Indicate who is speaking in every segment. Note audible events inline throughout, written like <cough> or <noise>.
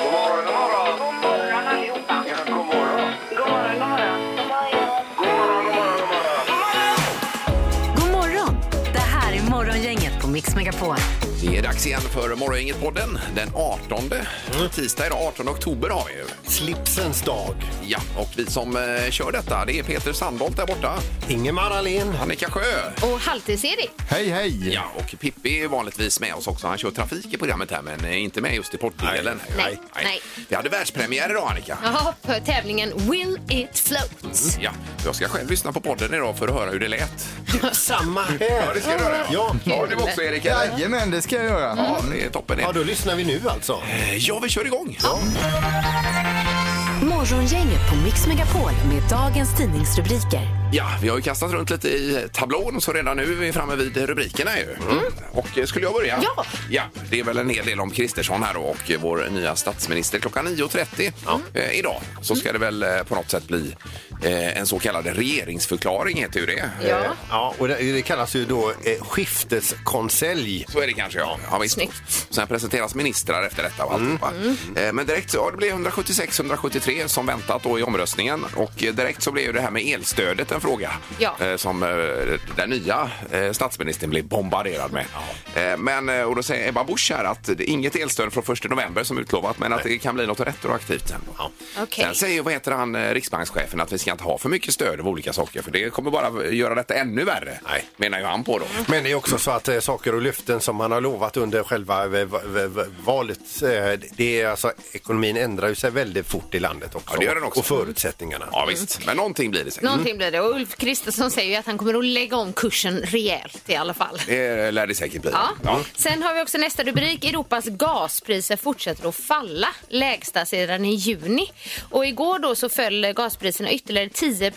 Speaker 1: God morgon, god morgon. God morgon allihopa. Ja, god morgon. God morgon, god morgon. God morgon, god morgon, god morgon.
Speaker 2: God morgon! Det här är Morgongänget på Mix Megapol.
Speaker 3: Det är dags igen för Morgongänget-podden. Den 18, tisdag idag, 18 oktober har vi ju.
Speaker 4: Mm. Slipsens dag.
Speaker 3: Ja, och vi som eh, kör detta, det är Peter Sandholt där borta,
Speaker 4: Ingemar Ahlén.
Speaker 3: Annika Sjö
Speaker 5: Och Halvtids-Erik.
Speaker 6: Hej, hej!
Speaker 3: ja, och Pippi är vanligtvis med oss också. Han kör trafik i programmet här, men eh, inte med just i poddelen.
Speaker 5: Nej, nej.
Speaker 3: Vi hade världspremiär idag, Annika.
Speaker 5: Jaha, på tävlingen Will It Float.
Speaker 3: Ja, jag ska själv lyssna på podden idag för att höra hur det lät.
Speaker 4: Samma
Speaker 3: Ja, det
Speaker 4: här.
Speaker 3: ska du höra.
Speaker 4: Ja.
Speaker 3: Har du också, Erik? eller?
Speaker 6: Jajamän, det ska jag göra.
Speaker 3: Ja, det är toppen.
Speaker 4: Ja,
Speaker 3: det.
Speaker 4: då lyssnar vi nu alltså.
Speaker 3: Eh, Ja, vi kör igång.
Speaker 2: Morgongänget på Mix Megapol med dagens tidningsrubriker.
Speaker 3: Ja, vi har ju kastat runt lite i tablån så redan nu är vi framme vid rubrikerna ju. Och eh, skulle jag börja?
Speaker 5: Mm. Ja.
Speaker 3: Ja, det är väl en hel del om Kristersson här då och eh, vår nya statsminister. Klockan 9.30 eh, idag så
Speaker 5: Mm.
Speaker 3: ska det väl eh, på något sätt bli eh, en så kallad regeringsförklaring heter ju det. Eh,
Speaker 5: Ja,
Speaker 4: Ja, och det, det kallas ju då eh, skifteskonselj.
Speaker 3: Så är det kanske, ja. ja visst.
Speaker 5: Snyggt. Mm.
Speaker 3: Sen presenteras ministrar efter detta och alltihopa. Eh, Men direkt, så- ja, det blev 176-173 som väntat då i omröstningen. Och eh, direkt så blev ju det här med elstödet en fråga.
Speaker 5: Ja.
Speaker 3: eh, Som eh, den nya eh, statsministern blev bombarderad med. Eh, Men, eh, och då säger Ebba Busch här att det är inget elstöd från 1 november som utlovat, men att det kan bli något retroaktivt sen.
Speaker 5: Okej.
Speaker 3: Sen säger, vad heter han, eh, riksbankschefen att vi ska inte ha för mycket stöd av olika saker, för det kommer bara göra detta ännu värre.
Speaker 4: Nej.
Speaker 3: Menar ju han på
Speaker 5: Mm.
Speaker 3: då.
Speaker 4: Men det är också så att eh, saker och löften som man har lovat under själva eh, va- va- va- valet, eh, det är alltså ekonomin ändrar ju sig väldigt fort i landet också.
Speaker 3: Ja, det gör den också.
Speaker 4: Och förutsättningarna.
Speaker 3: Ja visst, men någonting blir det säkert.
Speaker 5: någonting blir det. Och Ulf Kristersson säger ju att han kommer att lägga om kursen rejält i alla fall.
Speaker 3: Mm. Det lär det säkert bli.
Speaker 5: Ja.
Speaker 3: Ja.
Speaker 5: Sen har vi också nästa rubrik. Europas gaspriser fortsätter att falla. Lägsta sedan i juni. Och igår då så föll gaspriserna ytterligare 10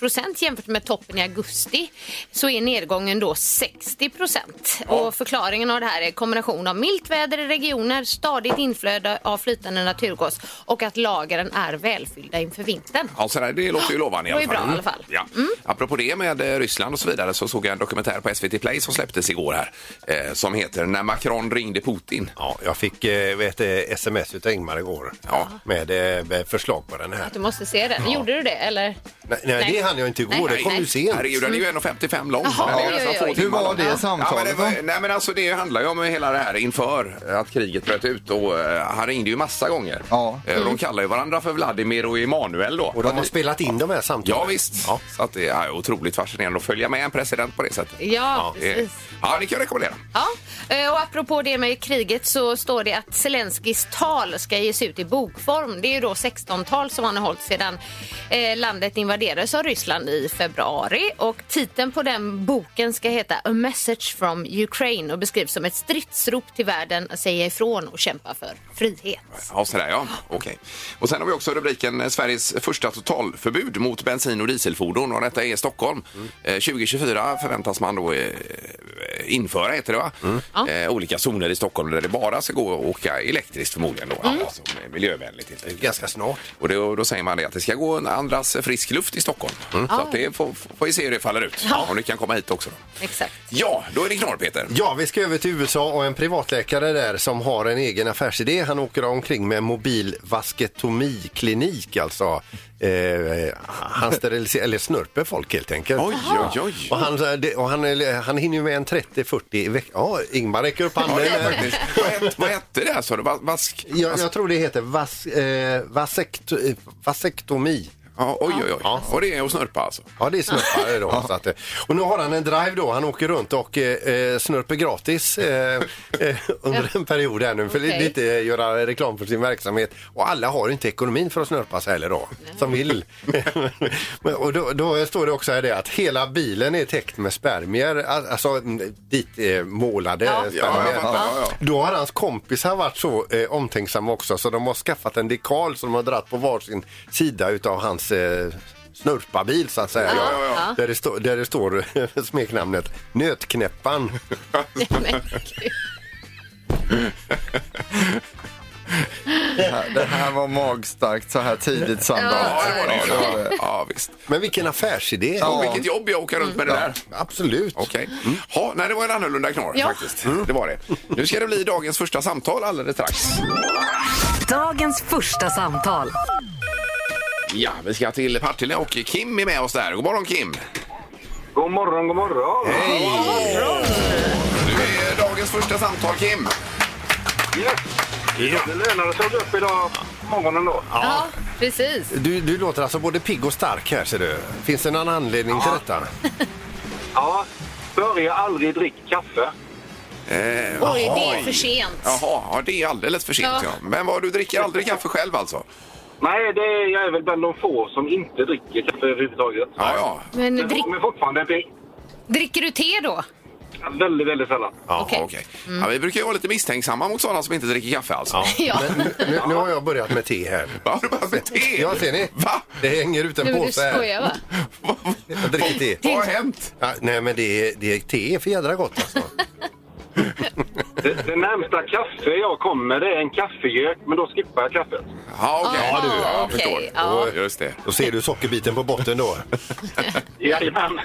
Speaker 5: procent jämfört med toppen i augusti. Så är nedgången då 60 procent. Och förklaringen av det här är en kombination av milt väder i regioner, stadigt inflöde av flytande naturgas och att lagren är välfyllda inför vintern.
Speaker 3: Ja, så där, det låter ju lovande i
Speaker 5: Det
Speaker 3: alla
Speaker 5: var
Speaker 3: fall.
Speaker 5: ju bra i alla fall. Mm.
Speaker 3: Ja. Apropå det med eh, Ryssland och så vidare så såg jag en dokumentär på SVT Play som släpptes igår här eh, som heter När Macron ringde Putin.
Speaker 4: Ja, jag fick eh, ett eh, sms utav Ingmar igår
Speaker 3: Ja.
Speaker 4: med eh, med förslag på den här.
Speaker 5: Du måste se den. Gjorde du det eller?
Speaker 4: Nej, nej,
Speaker 5: Nej.
Speaker 4: det hann jag inte igår.
Speaker 5: Nej.
Speaker 4: det kom
Speaker 5: Nej.
Speaker 4: ju sent.
Speaker 3: Herregud, den är ju 1,55 lång.
Speaker 5: Jaha,
Speaker 3: Den är ju
Speaker 5: oj,
Speaker 3: nästan
Speaker 5: oj,
Speaker 3: två
Speaker 5: oj.
Speaker 3: timmar
Speaker 6: Hur var
Speaker 3: lång.
Speaker 6: det
Speaker 3: Ja, men det,
Speaker 6: samtalet då?
Speaker 3: var- nej, men alltså, det handlar ju om hela det här inför eh, att kriget bröt ut och eh, han ringde ju massa gånger.
Speaker 6: Ja.
Speaker 3: Eh, och de kallar ju varandra för Vladimir och Emanuel då.
Speaker 4: Och de har spelat in de här samtalen.
Speaker 3: Ja visst,
Speaker 4: Ja.
Speaker 3: så att det är otroligt fascinerande att följa med en president på det sättet.
Speaker 5: Ja,
Speaker 3: Eh,
Speaker 5: precis.
Speaker 3: ja det kan jag rekommendera.
Speaker 5: Ja, eh, och apropå det med kriget så står det att Zelenskyjs tal ska ges ut i bokform. Det är ju då 16-tal som han har hållit sedan eh, landet invaderades av Ryssland i februari. Och titeln på den boken ska heta A Message from Ukraine och beskrivs som ett stridsrop till världen att säga ifrån och kämpa för frihet.
Speaker 3: Ja, sådär ja. Okej. Och sen har vi också rubriken eh, Sveriges första totalförbud mot bensin och dieselfordon och detta är Stockholm. Eh, 2024 förväntas man då eh, införa, heter det va? Eh, olika zoner i Stockholm där det bara ska gå att åka elektriskt förmodligen då. Mm. Alltså, eh, miljövänligt helt enkelt.
Speaker 4: Ganska snart.
Speaker 3: Och då, då säger man det att det ska gå en andras frisk luft i Stockholm. Så att det får, får vi se hur det faller ut. Om det kan komma hit också. Då.
Speaker 5: Exakt. <laughs>
Speaker 3: Ja, då är det knorr Peter.
Speaker 4: Ja, vi ska över till USA och en privatläkare där som har en egen affärsidé. Han åker omkring med en mobil vasketomiklinik, alltså eh, han steriliserar, eller snörper folk helt enkelt.
Speaker 3: Oj, oj, oj.
Speaker 4: Och han, det- och han, eh, han hinner ju med en 30-40 i veckan. Ja, Ingmar räcker upp
Speaker 3: Ja,
Speaker 4: handen.
Speaker 3: det är faktiskt. Vad hette- Vad hette det här sa du? Va- Vask?
Speaker 4: Jag, jag tror det heter vas, eh, vasekt, eh, vasektomi.
Speaker 3: Ja, oj, oj, oj. Och det är att snörpa alltså?
Speaker 4: Ja, det är snurpare
Speaker 3: <laughs>
Speaker 4: då. Så att, eh, och nu har han en drive då. Han åker runt och eh, eh, snurper gratis
Speaker 3: <laughs>
Speaker 4: eh, eh, under en period här nu för
Speaker 5: Okej.
Speaker 4: okay. lite eh, göra reklam för sin verksamhet. Och alla har inte ekonomin för att snurpa sig heller då, som vill. <laughs> Men- och då, då står det också här det att hela bilen är täckt med spermier, al- alltså mm, dit eh, målade
Speaker 5: Ja.
Speaker 4: eh,
Speaker 3: Ja,
Speaker 4: spermier.
Speaker 3: jag fattar, ja, ja.
Speaker 4: Då har hans kompisar varit så eh, omtänksamma också så de har skaffat en dekal som de har dratt på varsin sida utav hans eh, snurpabil så att säga.
Speaker 3: Ja, ja, ja.
Speaker 4: Där, det står- där det står eh, <laughs> smeknamnet Nötknäppan.
Speaker 5: Men gud.
Speaker 7: Ja, Det här var magstarkt så här tidigt
Speaker 3: Ja,
Speaker 7: söndag.
Speaker 3: det var det. Ja, det- ja visst.
Speaker 4: Men vilken affärsidé!
Speaker 3: Och vilket jobb jag åker runt med det där.
Speaker 4: Absolut.
Speaker 3: Okej. Ja, nej, det var en annorlunda knorr
Speaker 5: Ja.
Speaker 3: faktiskt. Det var det. Nu ska det bli dagens första samtal alldeles strax.
Speaker 2: Dagens första samtal.
Speaker 3: Ja, vi ska till Partille och Kim är med oss där. God morgon Kim!
Speaker 1: God morgon, god morgon.
Speaker 3: Du är dagens första samtal Kim.
Speaker 1: Yes. Det lönar sig att gå upp idag på morgonen då.
Speaker 5: Ja, precis.
Speaker 4: Du, du låter alltså både pigg och stark här ser du. Finns det någon anledning till detta?
Speaker 1: Ja. Börja aldrig dricka kaffe.
Speaker 5: Oj, det är för sent.
Speaker 3: Jaha, ja, det är alldeles för sent.
Speaker 5: Ja.
Speaker 3: Ja. Men vad, du dricker aldrig kaffe själv alltså?
Speaker 1: Nej, det är, jag är väl bland de få som inte dricker kaffe överhuvudtaget.
Speaker 3: Ja, ja.
Speaker 5: Men
Speaker 1: Men,
Speaker 5: drick,
Speaker 1: for- men fortfarande blir
Speaker 5: dricker du te då?
Speaker 1: väldigt, väldigt sällan.
Speaker 3: Ja,
Speaker 5: Okej.
Speaker 3: okej. Ja, vi brukar ju vara lite misstänksamma mot sådana som inte dricker kaffe alltså. <laughs> Ja,
Speaker 5: Ja.
Speaker 4: Nu, nu har jag börjat med te här.
Speaker 3: har du börjat med te?
Speaker 4: Ja, ser ni?
Speaker 3: Va?
Speaker 4: Det hänger ut
Speaker 5: Nu
Speaker 4: en
Speaker 5: du
Speaker 4: påse här.
Speaker 5: skojar va?
Speaker 3: Vad-
Speaker 4: Jag dricker te.
Speaker 3: Vad har hänt?
Speaker 4: Ja, nej, men det, är- det, är- te är för jädra gott alltså.
Speaker 1: Det, det närmsta kaffe jag kommer det är en kaffegök, men då skippar jag kaffet.
Speaker 3: Ja, okej.
Speaker 5: Aha,
Speaker 3: Ja, du. Jag
Speaker 5: okej,
Speaker 3: förstår.
Speaker 5: ja.
Speaker 3: Just det.
Speaker 4: Då ser du sockerbiten på botten då.
Speaker 3: <laughs>
Speaker 1: Jajamän.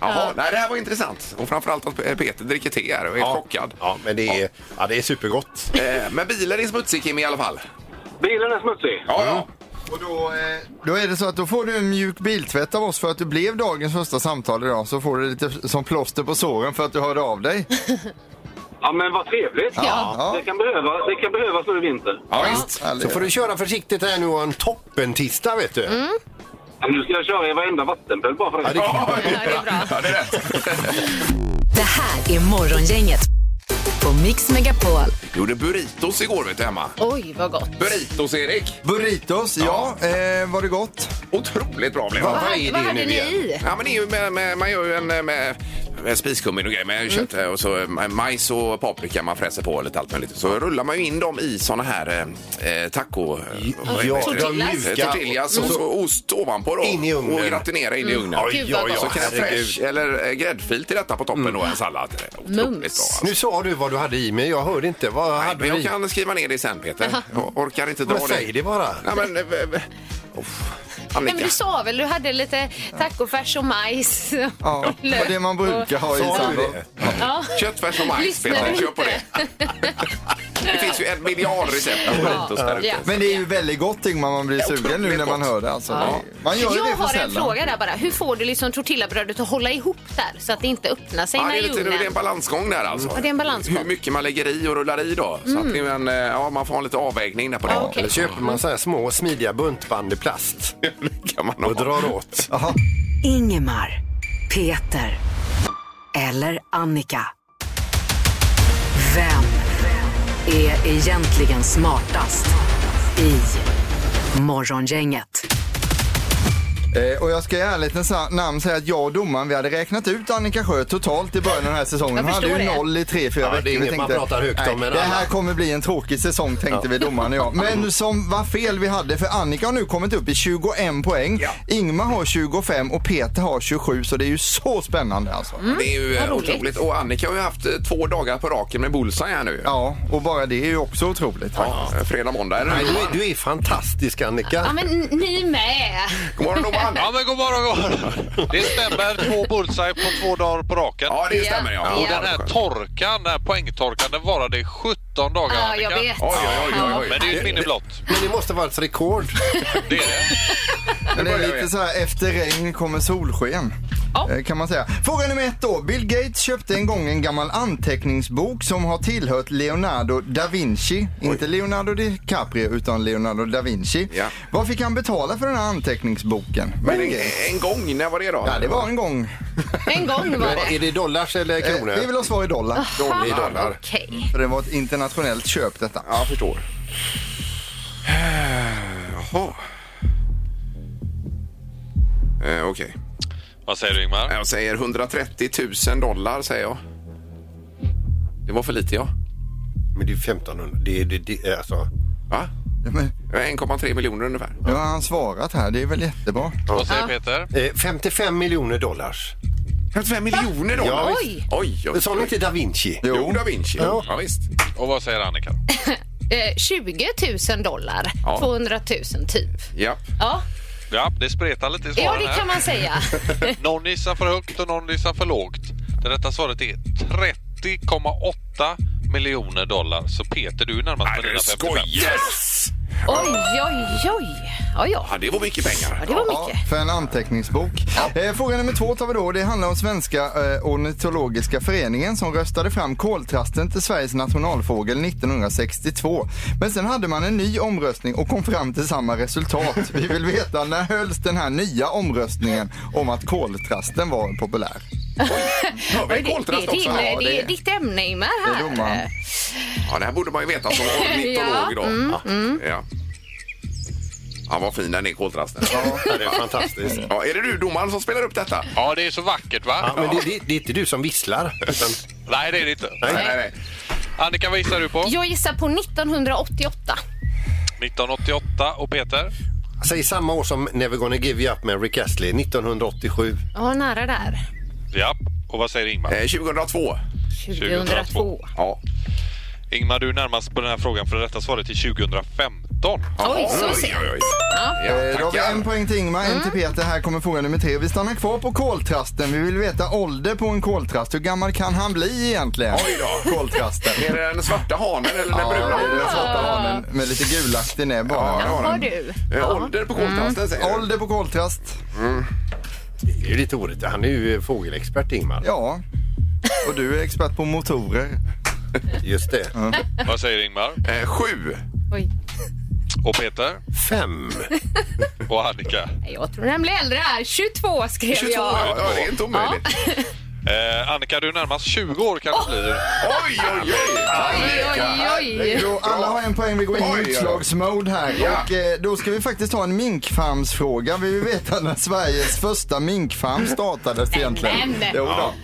Speaker 3: Jaha, nej, det här var intressant. Och framförallt att Peter dricker te här och är chockad.
Speaker 4: Ja, men det är, ja, det är supergott.
Speaker 3: Eh, Men bilen är smutsig Kim i alla fall.
Speaker 1: Bilen är smutsig.
Speaker 3: Ja, ja.
Speaker 7: Och då, eh, då är det så att då får du en mjuk biltvätt av oss för att du blev dagens första samtal idag. Så får du lite som plåster på såren för att du hörde av dig.
Speaker 1: Ja, men vad trevligt.
Speaker 7: Ja.
Speaker 1: Det, kan behöva, det kan behövas nu i vinter.
Speaker 3: Ja, visst.
Speaker 4: Så får du köra försiktigt här nu och ha en toppentista vet du.
Speaker 3: Mm.
Speaker 1: Ja, Nu ska jag köra i varenda vattenpöl bara för det.
Speaker 3: Ja, det
Speaker 5: Ja, det är bra.
Speaker 3: Ja, det är rätt.
Speaker 2: Det här är Morgongänget på Mix Megapol.
Speaker 3: Gjorde burritos igår vet du Emma.
Speaker 5: Oj, vad gott.
Speaker 3: Burritos Erik.
Speaker 7: Burritos, ja. Eh, var det gott?
Speaker 3: Otroligt bra blev det.
Speaker 5: Vad,
Speaker 4: vad är
Speaker 5: hade-
Speaker 4: det
Speaker 5: vad hade
Speaker 4: nu
Speaker 5: ni
Speaker 4: igen?
Speaker 5: i?
Speaker 3: Ja, men det är ju med, med, man gör ju en eh, med, med spiskummin och grejer
Speaker 4: Mm.
Speaker 3: med kött eh, och så eh, majs och paprika man fräser på och lite allt möjligt. Så rullar man ju in dem i såna här eh, eh, taco... eh, vad
Speaker 4: Ja,
Speaker 3: heter det?
Speaker 4: de
Speaker 5: tortillas.
Speaker 3: Eh,
Speaker 4: mjuka.
Speaker 3: Tortillas och så ost ovanpå då.
Speaker 4: In i ugnen. Mm.
Speaker 3: Och gratinera in i ugnen.
Speaker 4: Oj, oj, oj,
Speaker 3: Så kan jag
Speaker 4: herregud. Mm.
Speaker 3: fresh eller eh, gräddfil till detta på toppen då, en sallad. Otroligt bra.
Speaker 5: Mums.
Speaker 3: alltså.
Speaker 4: Nu sa du vad du hade i mig, jag hörde inte. Vad
Speaker 3: Nej,
Speaker 4: hade du
Speaker 3: men jag
Speaker 4: i?
Speaker 3: kan skriva ner det sen Peter. Jag orkar inte dra
Speaker 4: Men säg det bara.
Speaker 3: Nej, men, eh, eh, uff.
Speaker 5: Nej, men
Speaker 3: Annika.
Speaker 5: du sa väl, du hade lite tacofärs och majs. <laughs>
Speaker 7: Ja, det var det man brukar ha i
Speaker 4: Sa du
Speaker 7: samband.
Speaker 4: det?
Speaker 5: Ja.
Speaker 3: Köttfärs och majs,
Speaker 5: Lyssnar
Speaker 3: Peter.
Speaker 5: du
Speaker 3: Kör på det.
Speaker 5: <laughs> inte?
Speaker 3: Det finns ju en miljard recept på burritos där ute.
Speaker 5: Ja.
Speaker 7: Men det är ju väldigt gott ting man blir sugen nu när man hör det. Alltså. Man gör ju
Speaker 5: jag
Speaker 7: det för
Speaker 5: har en
Speaker 7: sällan.
Speaker 5: fråga där bara. Hur får du liksom tortillabrödet att hålla ihop där så att det inte öppnar sig
Speaker 3: Ja, det,
Speaker 5: när
Speaker 3: är lite, det är en
Speaker 5: ugnen...
Speaker 3: balansgång där alltså.
Speaker 5: Ja, det är en balansgång. Mm.
Speaker 3: Hur mycket man lägger i och rullar i då. Så att det är en, eh, ja, man får ha lite avvägning där på det.
Speaker 5: Ja, okej.
Speaker 4: Eller köper man så här små smidiga buntband i plast
Speaker 3: <laughs> Det kan man
Speaker 4: och
Speaker 3: ha.
Speaker 4: drar åt.
Speaker 2: Ingemar, Peter eller Annika. Vem är egentligen smartast i Morgongänget?
Speaker 7: Eh, och jag ska i ärlighetens namn säga att jag och domaren vi hade räknat ut Annika Sjö totalt i början av den här säsongen.
Speaker 5: Jag
Speaker 7: Hon hade ju
Speaker 5: förstår det.
Speaker 7: noll i tre, fyra
Speaker 4: Ja, det är
Speaker 7: veckor. Vi
Speaker 4: inget man pratar högt om,
Speaker 7: nej,
Speaker 4: men
Speaker 7: Det
Speaker 4: alla- Mm.
Speaker 7: här kommer bli en tråkig säsong tänkte vi domaren och jag. Men som vad fel vi hade för Annika har nu kommit upp i 21 poäng. Ingmar har 25 och Peter har 27 så det är ju så spännande alltså.
Speaker 5: Mm.
Speaker 3: Det är ju eh,
Speaker 5: Vad roligt.
Speaker 3: otroligt. Och Annika har ju haft eh, två dagar på raken med bullseye här nu.
Speaker 7: Ja, och bara det är ju också otroligt.
Speaker 3: Ja, fredag, måndag. Är det
Speaker 4: Nej,
Speaker 3: nu?
Speaker 4: du, är- du är fantastisk Annika.
Speaker 5: Ja, men n- ni med.
Speaker 3: God morgon domaren!
Speaker 8: Ja men god morgon, god morgon. Det stämmer, två bullseye på två dagar på raken.
Speaker 3: Ja, det stämmer ja.
Speaker 5: Ja.
Speaker 3: Ja,
Speaker 8: Och den här torkan, den här poängtorkan, den varade i 17 dagar
Speaker 5: Ja,
Speaker 8: Annika.
Speaker 5: jag vet.
Speaker 3: Oj, oj, oj, oj,
Speaker 8: Men
Speaker 3: oj.
Speaker 8: det är ju ett minne blott.
Speaker 4: Men det måste vara ett rekord.
Speaker 8: Det är det.
Speaker 7: Men det
Speaker 3: börjar
Speaker 7: är
Speaker 3: vi.
Speaker 7: lite så här, efter regn kommer solsken.
Speaker 5: Ja.
Speaker 7: eh, Kan man säga. Fråga nummer ett då. Bill Gates köpte en gång en gammal anteckningsbok som har tillhört Leonardo da Vinci. Inte Leonardo DiCaprio utan Leonardo da Vinci.
Speaker 3: Ja.
Speaker 7: Vad fick han betala för den här anteckningsboken?
Speaker 3: Men
Speaker 7: Bill
Speaker 3: en,
Speaker 7: Gates?
Speaker 3: en gång, när var det då?
Speaker 7: Ja, det var en gång.
Speaker 5: En gång var det.
Speaker 4: Är det dollars eller
Speaker 7: Eh,
Speaker 4: kronor?
Speaker 7: Vi vill ha svar i dollar.
Speaker 3: Ah.
Speaker 4: i dollar.
Speaker 5: Okej.
Speaker 7: För det var ett internationellt köp detta.
Speaker 3: Ja, jag förstår. Jaha. Eh, Okej.
Speaker 8: Vad säger du Ingmar?
Speaker 3: Jag säger 130 000 dollar, säger jag. Det var för lite, ja.
Speaker 4: Men det är 1500. Det, är- det, det, är alltså,
Speaker 3: Va?
Speaker 7: Men,
Speaker 3: 1,3 miljoner ungefär.
Speaker 7: nu har han svarat här, det är väl jättebra.
Speaker 8: Vad säger Peter?
Speaker 4: Eh, 55 miljoner dollars.
Speaker 3: 55 miljoner då?
Speaker 4: Ja,
Speaker 5: Oj.
Speaker 3: Oj, oj,
Speaker 4: Sa du inte da Vinci?
Speaker 3: Jo, da Vinci. Ja. visst.
Speaker 8: Och vad säger Annika?
Speaker 5: <laughs> Eh, 20 000 dollar.
Speaker 3: Ja.
Speaker 5: 200 000 typ.
Speaker 3: Ja.
Speaker 5: Ja,
Speaker 8: Ja, det spretar lite i
Speaker 5: ja
Speaker 8: svaren
Speaker 5: det
Speaker 8: här.
Speaker 5: kan man säga.
Speaker 8: <laughs>
Speaker 5: <laughs>
Speaker 8: Någon gissar för högt och någon gissar för lågt. Det rätta svaret är 30,8 miljoner dollar. Så Peter, du är närmast med dina 55.
Speaker 3: Yes!
Speaker 5: Oj, oj, oj. Ja, ja.
Speaker 3: Ja, det var mycket pengar.
Speaker 5: Ja, det var mycket.
Speaker 7: För en anteckningsbok. Eh, fråga nummer två tar vi då. Det handlar om Svenska eh, ornitologiska föreningen som röstade fram koltrasten till Sveriges nationalfågel 1962. Men sen hade man en ny omröstning och kom fram till samma resultat. Vi vill veta när hölls den här nya omröstningen om att koltrasten var populär?
Speaker 3: Hör vi
Speaker 5: Oj, det, det,
Speaker 3: koltrast
Speaker 5: är
Speaker 3: också?
Speaker 5: din,
Speaker 7: Ja,
Speaker 5: det
Speaker 7: det
Speaker 5: är
Speaker 7: är-
Speaker 5: ditt ämne, Ingmar.
Speaker 7: Det är domaren.
Speaker 5: Här.
Speaker 3: Ja, det här borde man ju veta som ornitolog
Speaker 5: Ja,
Speaker 3: idag. ja. Ja. ja, vad fin den är, koltrasten.
Speaker 4: Ja, det är fantastiskt.
Speaker 3: Ja, är det du, domaren, som spelar upp detta?
Speaker 8: Ja, det är så vackert va?
Speaker 4: Ja, men det, det, det är inte du som visslar. Utan,
Speaker 8: Nej, det är det inte.
Speaker 3: Nej, nej, nej.
Speaker 8: Annika, vad gissar du på?
Speaker 5: Jag gissar på 1988.
Speaker 8: 1988 och Peter?
Speaker 4: säg samma år som Never gonna give you up med Rick Astley, 1987.
Speaker 5: Ja, nära där.
Speaker 8: Ja. Och vad säger Ingmar?
Speaker 3: Eh, 2002.
Speaker 5: 2002.
Speaker 3: Ja.
Speaker 8: Ingmar, du är närmast på den här frågan för det rätta svaret är 2015.
Speaker 5: Oj, så
Speaker 3: oj,
Speaker 5: sent.
Speaker 3: oj, oj.
Speaker 7: Eh,
Speaker 3: Ja,
Speaker 7: Då har vi en
Speaker 3: tackar.
Speaker 7: poäng till Ingmar, en till
Speaker 5: Mm.
Speaker 7: Peter. Här kommer fråga nummer tre. Vi stannar kvar på koltrasten. Vi vill veta ålder på en koltrast. Hur gammal kan han bli egentligen?
Speaker 3: Oj då.
Speaker 7: Koltrasten.
Speaker 3: Är det den svarta hanen Alltså, eller den
Speaker 7: Ja, det
Speaker 3: bruna?
Speaker 7: är den svarta hanen med lite gulaktig näbb
Speaker 3: Ja, det
Speaker 7: bara.
Speaker 3: var
Speaker 5: Ah. Har
Speaker 3: den.
Speaker 5: du?
Speaker 3: Eh, Ålder på koltrasten säger du?
Speaker 7: Ålder på koltrast?
Speaker 4: Det är ju lite orätt. Han är ju fågelexpert, Ingmar.
Speaker 7: Ja. Och du är expert på motorer.
Speaker 4: Just det.
Speaker 8: Vad säger Ingmar?
Speaker 3: Eh, Sju.
Speaker 5: Oj.
Speaker 8: Och Peter?
Speaker 4: Fem.
Speaker 8: Och Annika?
Speaker 5: Jag tror den blir äldre här. 22 skrev
Speaker 3: 22
Speaker 5: jag.
Speaker 3: ja, ja, det är inte omöjligt.
Speaker 8: Eh, Annika, du är närmast 20 år kanske blir.
Speaker 3: Oj, oj, oj!
Speaker 5: Oj, oj, oj.
Speaker 7: Då alla har en poäng, vi går in
Speaker 3: Oj,
Speaker 7: i
Speaker 3: ja.
Speaker 7: utslagsmode här.
Speaker 3: Ja.
Speaker 7: Och eh, då ska vi faktiskt ha en minkfarmsfråga. Vi vill veta när Sveriges första minkfarm startades egentligen.
Speaker 5: men. Ah.
Speaker 7: Jo då.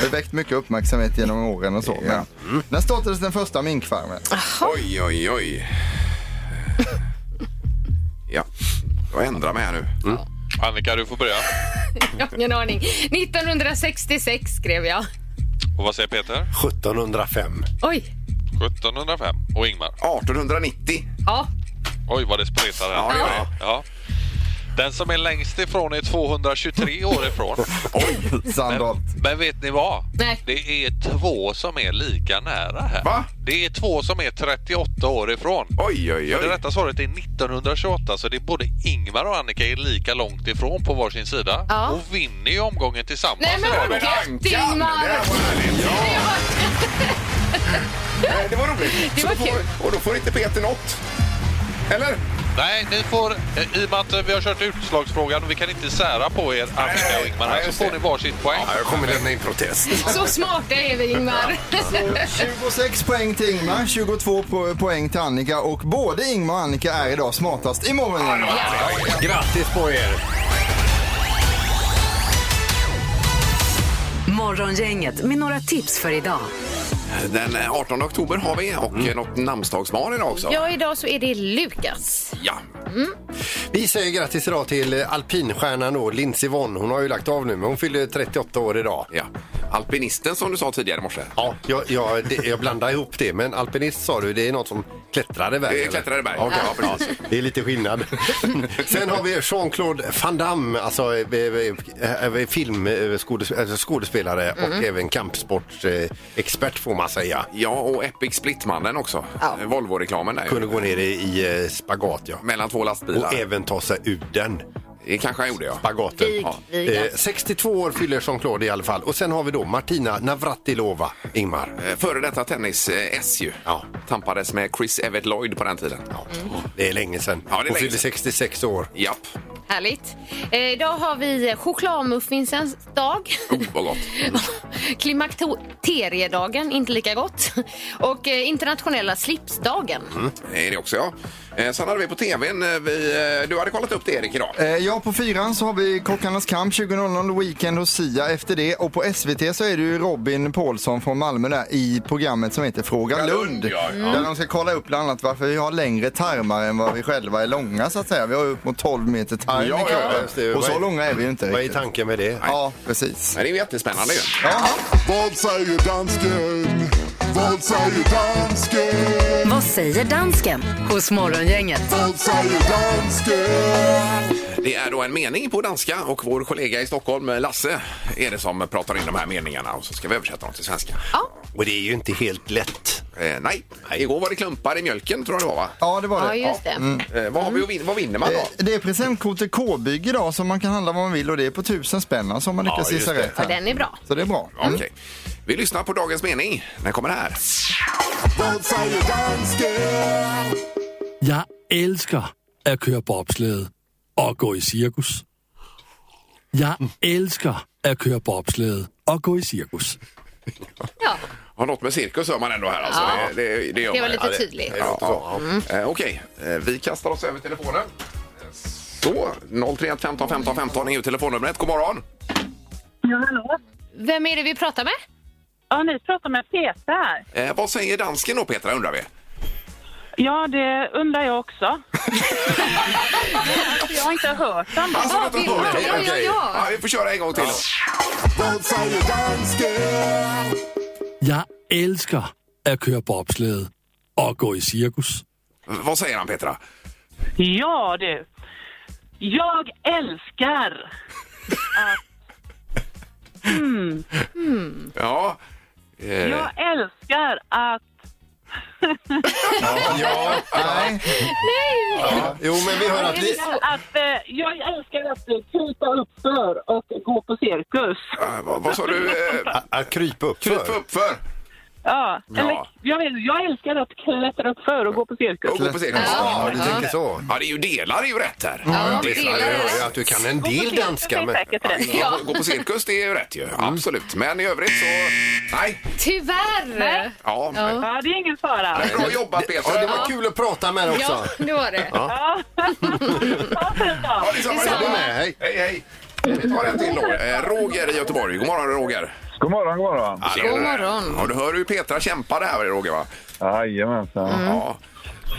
Speaker 7: Det har väckt mycket uppmärksamhet genom åren och så. Men. Mm. När startades den första minkfarmen?
Speaker 3: Oj, oj, oj. Ja, jag ändrar mig här nu.
Speaker 8: Annika, du får börja.
Speaker 5: <laughs> Jag har ingen aning. 1966 skrev jag.
Speaker 8: Och vad säger Peter?
Speaker 4: 1705.
Speaker 5: Oj.
Speaker 8: 1705. Och Ingmar?
Speaker 3: 1890.
Speaker 5: Ja.
Speaker 8: Oj, vad det spretar. här.
Speaker 3: Ja, det gör det.
Speaker 8: Ja. Den som är längst ifrån är 223 år ifrån.
Speaker 7: Sandholt.
Speaker 8: Men vet ni vad?
Speaker 5: Nej.
Speaker 8: Det är två som är lika nära här.
Speaker 3: Va?
Speaker 8: Det är två som är 38 år ifrån.
Speaker 3: Oj, oj,
Speaker 8: För det
Speaker 3: oj.
Speaker 8: rätta svaret är 1928, så det är både Ingmar och Annika är lika långt ifrån på varsin sida
Speaker 5: Ja.
Speaker 8: och vinner ju omgången tillsammans.
Speaker 5: Nej, men vad gött, Ingmar!
Speaker 3: <laughs> Nej, Det var roligt.
Speaker 5: Det
Speaker 3: Så
Speaker 5: var
Speaker 3: då får-
Speaker 5: kul.
Speaker 3: Och då får inte Peter något. Eller?
Speaker 8: Nej, ni får, eh, i och med att eh, vi har kört utslagsfrågan och vi kan inte sära på er Annika och Ingmar här,
Speaker 3: Nej,
Speaker 8: så
Speaker 3: just
Speaker 8: får
Speaker 3: det.
Speaker 8: ni varsitt poäng.
Speaker 4: Ja, jag kommer lämna in protest.
Speaker 5: Så smarta är vi, Ingmar.
Speaker 7: 26 poäng till Ingmar, 22 po- poäng till Annika och både Ingmar och Annika är idag smartast i morgongänget.
Speaker 4: Grattis på er!
Speaker 2: Morgongänget med några tips för idag.
Speaker 3: Den eh, 18 oktober har vi och mm. något namnsdagsbarn idag
Speaker 5: <laughs>
Speaker 3: också.
Speaker 5: Ja, idag så är det Lukas.
Speaker 3: Ja.
Speaker 4: Vi säger grattis idag till eh, alpinstjärnan då, Lindsey Vonn. Hon har ju lagt av nu, men hon fyller 38 år idag.
Speaker 3: ja. Alpinisten som du sa tidigare i morse.
Speaker 4: Ja, jag, jag, det, jag blandar ihop det, men alpinist sa du, det är något som klättrar i berg?
Speaker 3: Det är
Speaker 4: eller?
Speaker 3: klättrar i berg.
Speaker 4: Okej,
Speaker 3: Ja,
Speaker 4: ja,
Speaker 3: precis.
Speaker 4: det är lite
Speaker 3: <laughs>
Speaker 4: skillnad. Sen har vi Jean-Claude Van Damme, alltså eh, eh, eh, filmskådespelare alltså, skådespelare
Speaker 3: Mm.
Speaker 4: och även kampsportsexpert får man säga.
Speaker 3: Ja, och Epic Split-mannen också. Eh, Volvo-reklamen där.
Speaker 4: Kunde gå ner i, i eh, spagat, ja.
Speaker 3: Mellan två lastbilar.
Speaker 4: Och även ta sig ur den
Speaker 3: Det kanske han gjorde, ja.
Speaker 4: spagaten.
Speaker 5: Vig,
Speaker 4: Ja.
Speaker 5: vig,
Speaker 4: Eh,
Speaker 5: alltså.
Speaker 4: 62 år fyller Jean-Claude i alla fall. Och sen har vi då Martina Navratilova, Ingmar.
Speaker 3: Eh, Före detta tennis-S ju.
Speaker 4: Ja.
Speaker 3: Tampades med Chris Evert Lloyd på den tiden.
Speaker 4: Ja, Det är länge sedan.
Speaker 3: Mm. Ja, det är
Speaker 4: Hon
Speaker 3: länge
Speaker 4: fyller
Speaker 3: sedan.
Speaker 4: 66 år.
Speaker 3: Japp.
Speaker 5: Härligt. Eh, idag har vi chokladmuffinsens dag.
Speaker 3: Oh, vad
Speaker 5: <laughs>
Speaker 3: gott.
Speaker 5: Klimakteriedagen, inte lika gott. Och eh, internationella slipsdagen.
Speaker 3: Mm. Är det också, ja. Eh, Sen hade vi på tvn, eh, vi, eh, du hade kollat upp det Erik idag.
Speaker 7: Eh, Ja, på fyran så har vi Kockarnas kamp 20.00, Weekend och Sia efter det. Och på SVT så är det ju Robin Paulsson från Malmö där i programmet som heter Fråga
Speaker 3: Fråga
Speaker 7: Lund. Mm.
Speaker 3: Lund, ja, ja.
Speaker 7: Där de ska kolla upp bland annat varför vi har längre tarmar än vad vi själva är långa så att säga. Vi har ju upp mot 12 meter tarm i
Speaker 3: Ja, ja,
Speaker 7: kroppen.
Speaker 4: just det.
Speaker 7: Och så
Speaker 4: Vad är-
Speaker 7: långa är vi ju inte
Speaker 4: Vad är
Speaker 7: riktigt.
Speaker 4: tanken med det?
Speaker 7: Ja, precis.
Speaker 3: Men det är ju jättespännande ju.
Speaker 7: Ja.
Speaker 9: Vad säger dansken? Vad säger dansken?
Speaker 2: Vad säger dansken hos Morgongänget?
Speaker 9: Vad säger dansken?
Speaker 3: Det är då en mening på danska och vår kollega i Stockholm, eh, Lasse, är det som pratar in de här meningarna och så ska vi översätta dem till svenska.
Speaker 4: Och det är ju inte helt lätt.
Speaker 3: Eh, nej, igår var det klumpar i mjölken tror jag det var va?
Speaker 7: ja, Mm. det var det.
Speaker 5: Ja, just det.
Speaker 3: Eh, vad, har vi att vin- vad vinner man
Speaker 7: Eh,
Speaker 3: då?
Speaker 7: Det är presentkort till K-bygg idag som man kan handla vad man vill och det är på tusen spänn alltså om man lyckas
Speaker 3: just
Speaker 7: gissa
Speaker 3: det.
Speaker 7: rätt.
Speaker 5: Ja,
Speaker 7: här.
Speaker 5: den är bra.
Speaker 7: Så det är bra.
Speaker 3: Okej. Vi lyssnar på dagens mening. Den kommer här.
Speaker 9: Vad säger dansken?
Speaker 10: Jeg elsker at køre bobslede og gå i cirkus. Jeg elsker at køre bobslede og gå i cirkus.
Speaker 5: Ja,
Speaker 3: Har något med cirkus hör man ändå här alltså.
Speaker 5: Ja.
Speaker 3: Det, det, det, gör
Speaker 5: det var
Speaker 3: man.
Speaker 5: lite tydligt.
Speaker 3: Ja, ja. Eh, Okej, eh, vi kastar oss över telefonen. Eh, Så, 031 15 15 15 är ju telefonnumret. God morgon!
Speaker 5: Vem är det vi pratar med?
Speaker 10: Ja, ni pratar med Peter.
Speaker 3: Eh, vad säger dansken då Petra undrar vi?
Speaker 10: Ja, det undrar jag
Speaker 5: <laughs>
Speaker 10: också. jag har inte hört den.
Speaker 3: Alltså,
Speaker 5: Ja,
Speaker 3: vänta,
Speaker 5: det- ja,
Speaker 3: okej,
Speaker 5: ja, ja,
Speaker 3: okej.
Speaker 5: ja.
Speaker 3: Vi får köra en gång till.
Speaker 9: Vad säger dansken?
Speaker 10: Jeg elsker at køre bobslede og gå i cirkus.
Speaker 3: Vad säger han Petra?
Speaker 10: Ja, du. Jag älskar.
Speaker 3: Ja. Eh,
Speaker 10: älskar att...
Speaker 4: Ja,
Speaker 7: Nej.
Speaker 4: jo men vi har att vi...
Speaker 10: att eh, jag älskar att krypa upp för och gå på cirkus.
Speaker 3: eh, vad, vad sa du? Eh,
Speaker 4: Att krypa upp
Speaker 3: kryp
Speaker 4: för.
Speaker 3: upp för?
Speaker 10: Ja,
Speaker 3: eller- Ja.
Speaker 10: jag, jag älskar att klättra upp för och gå på cirkus.
Speaker 3: Och gå på cirkus.
Speaker 4: Ja, du tänker så.
Speaker 3: Ja, det är ju delar är ju rätt här.
Speaker 5: Ja,
Speaker 4: Det
Speaker 5: delar
Speaker 4: är
Speaker 5: är
Speaker 4: ju
Speaker 5: rätt.
Speaker 4: att du kan en del danska. Men...
Speaker 3: Ja, gå på cirkus, det är ju rätt ju.
Speaker 5: Mm.
Speaker 3: Absolut. Men i övrigt så... Nej.
Speaker 5: Tyvärr!
Speaker 3: Ja. men-
Speaker 10: Ja, det är ingen fara.
Speaker 3: Nej, Bra jobbat Peter.
Speaker 4: Ja, det var kul att prata med dig också.
Speaker 5: Ja, det var det.
Speaker 10: <laughs>
Speaker 3: Ja, det är samma.
Speaker 4: Du med, hej.
Speaker 3: Hej, hej. Vi tar en till då. Eh, Roger i Göteborg. God morgon Roger.
Speaker 10: God morgon, god morgon.
Speaker 3: Tjenare.
Speaker 5: God morgon.
Speaker 3: Ja, du hör hur Petra kämpar det här Roger va?
Speaker 10: Jajamensan.
Speaker 5: Mm.
Speaker 3: Ja.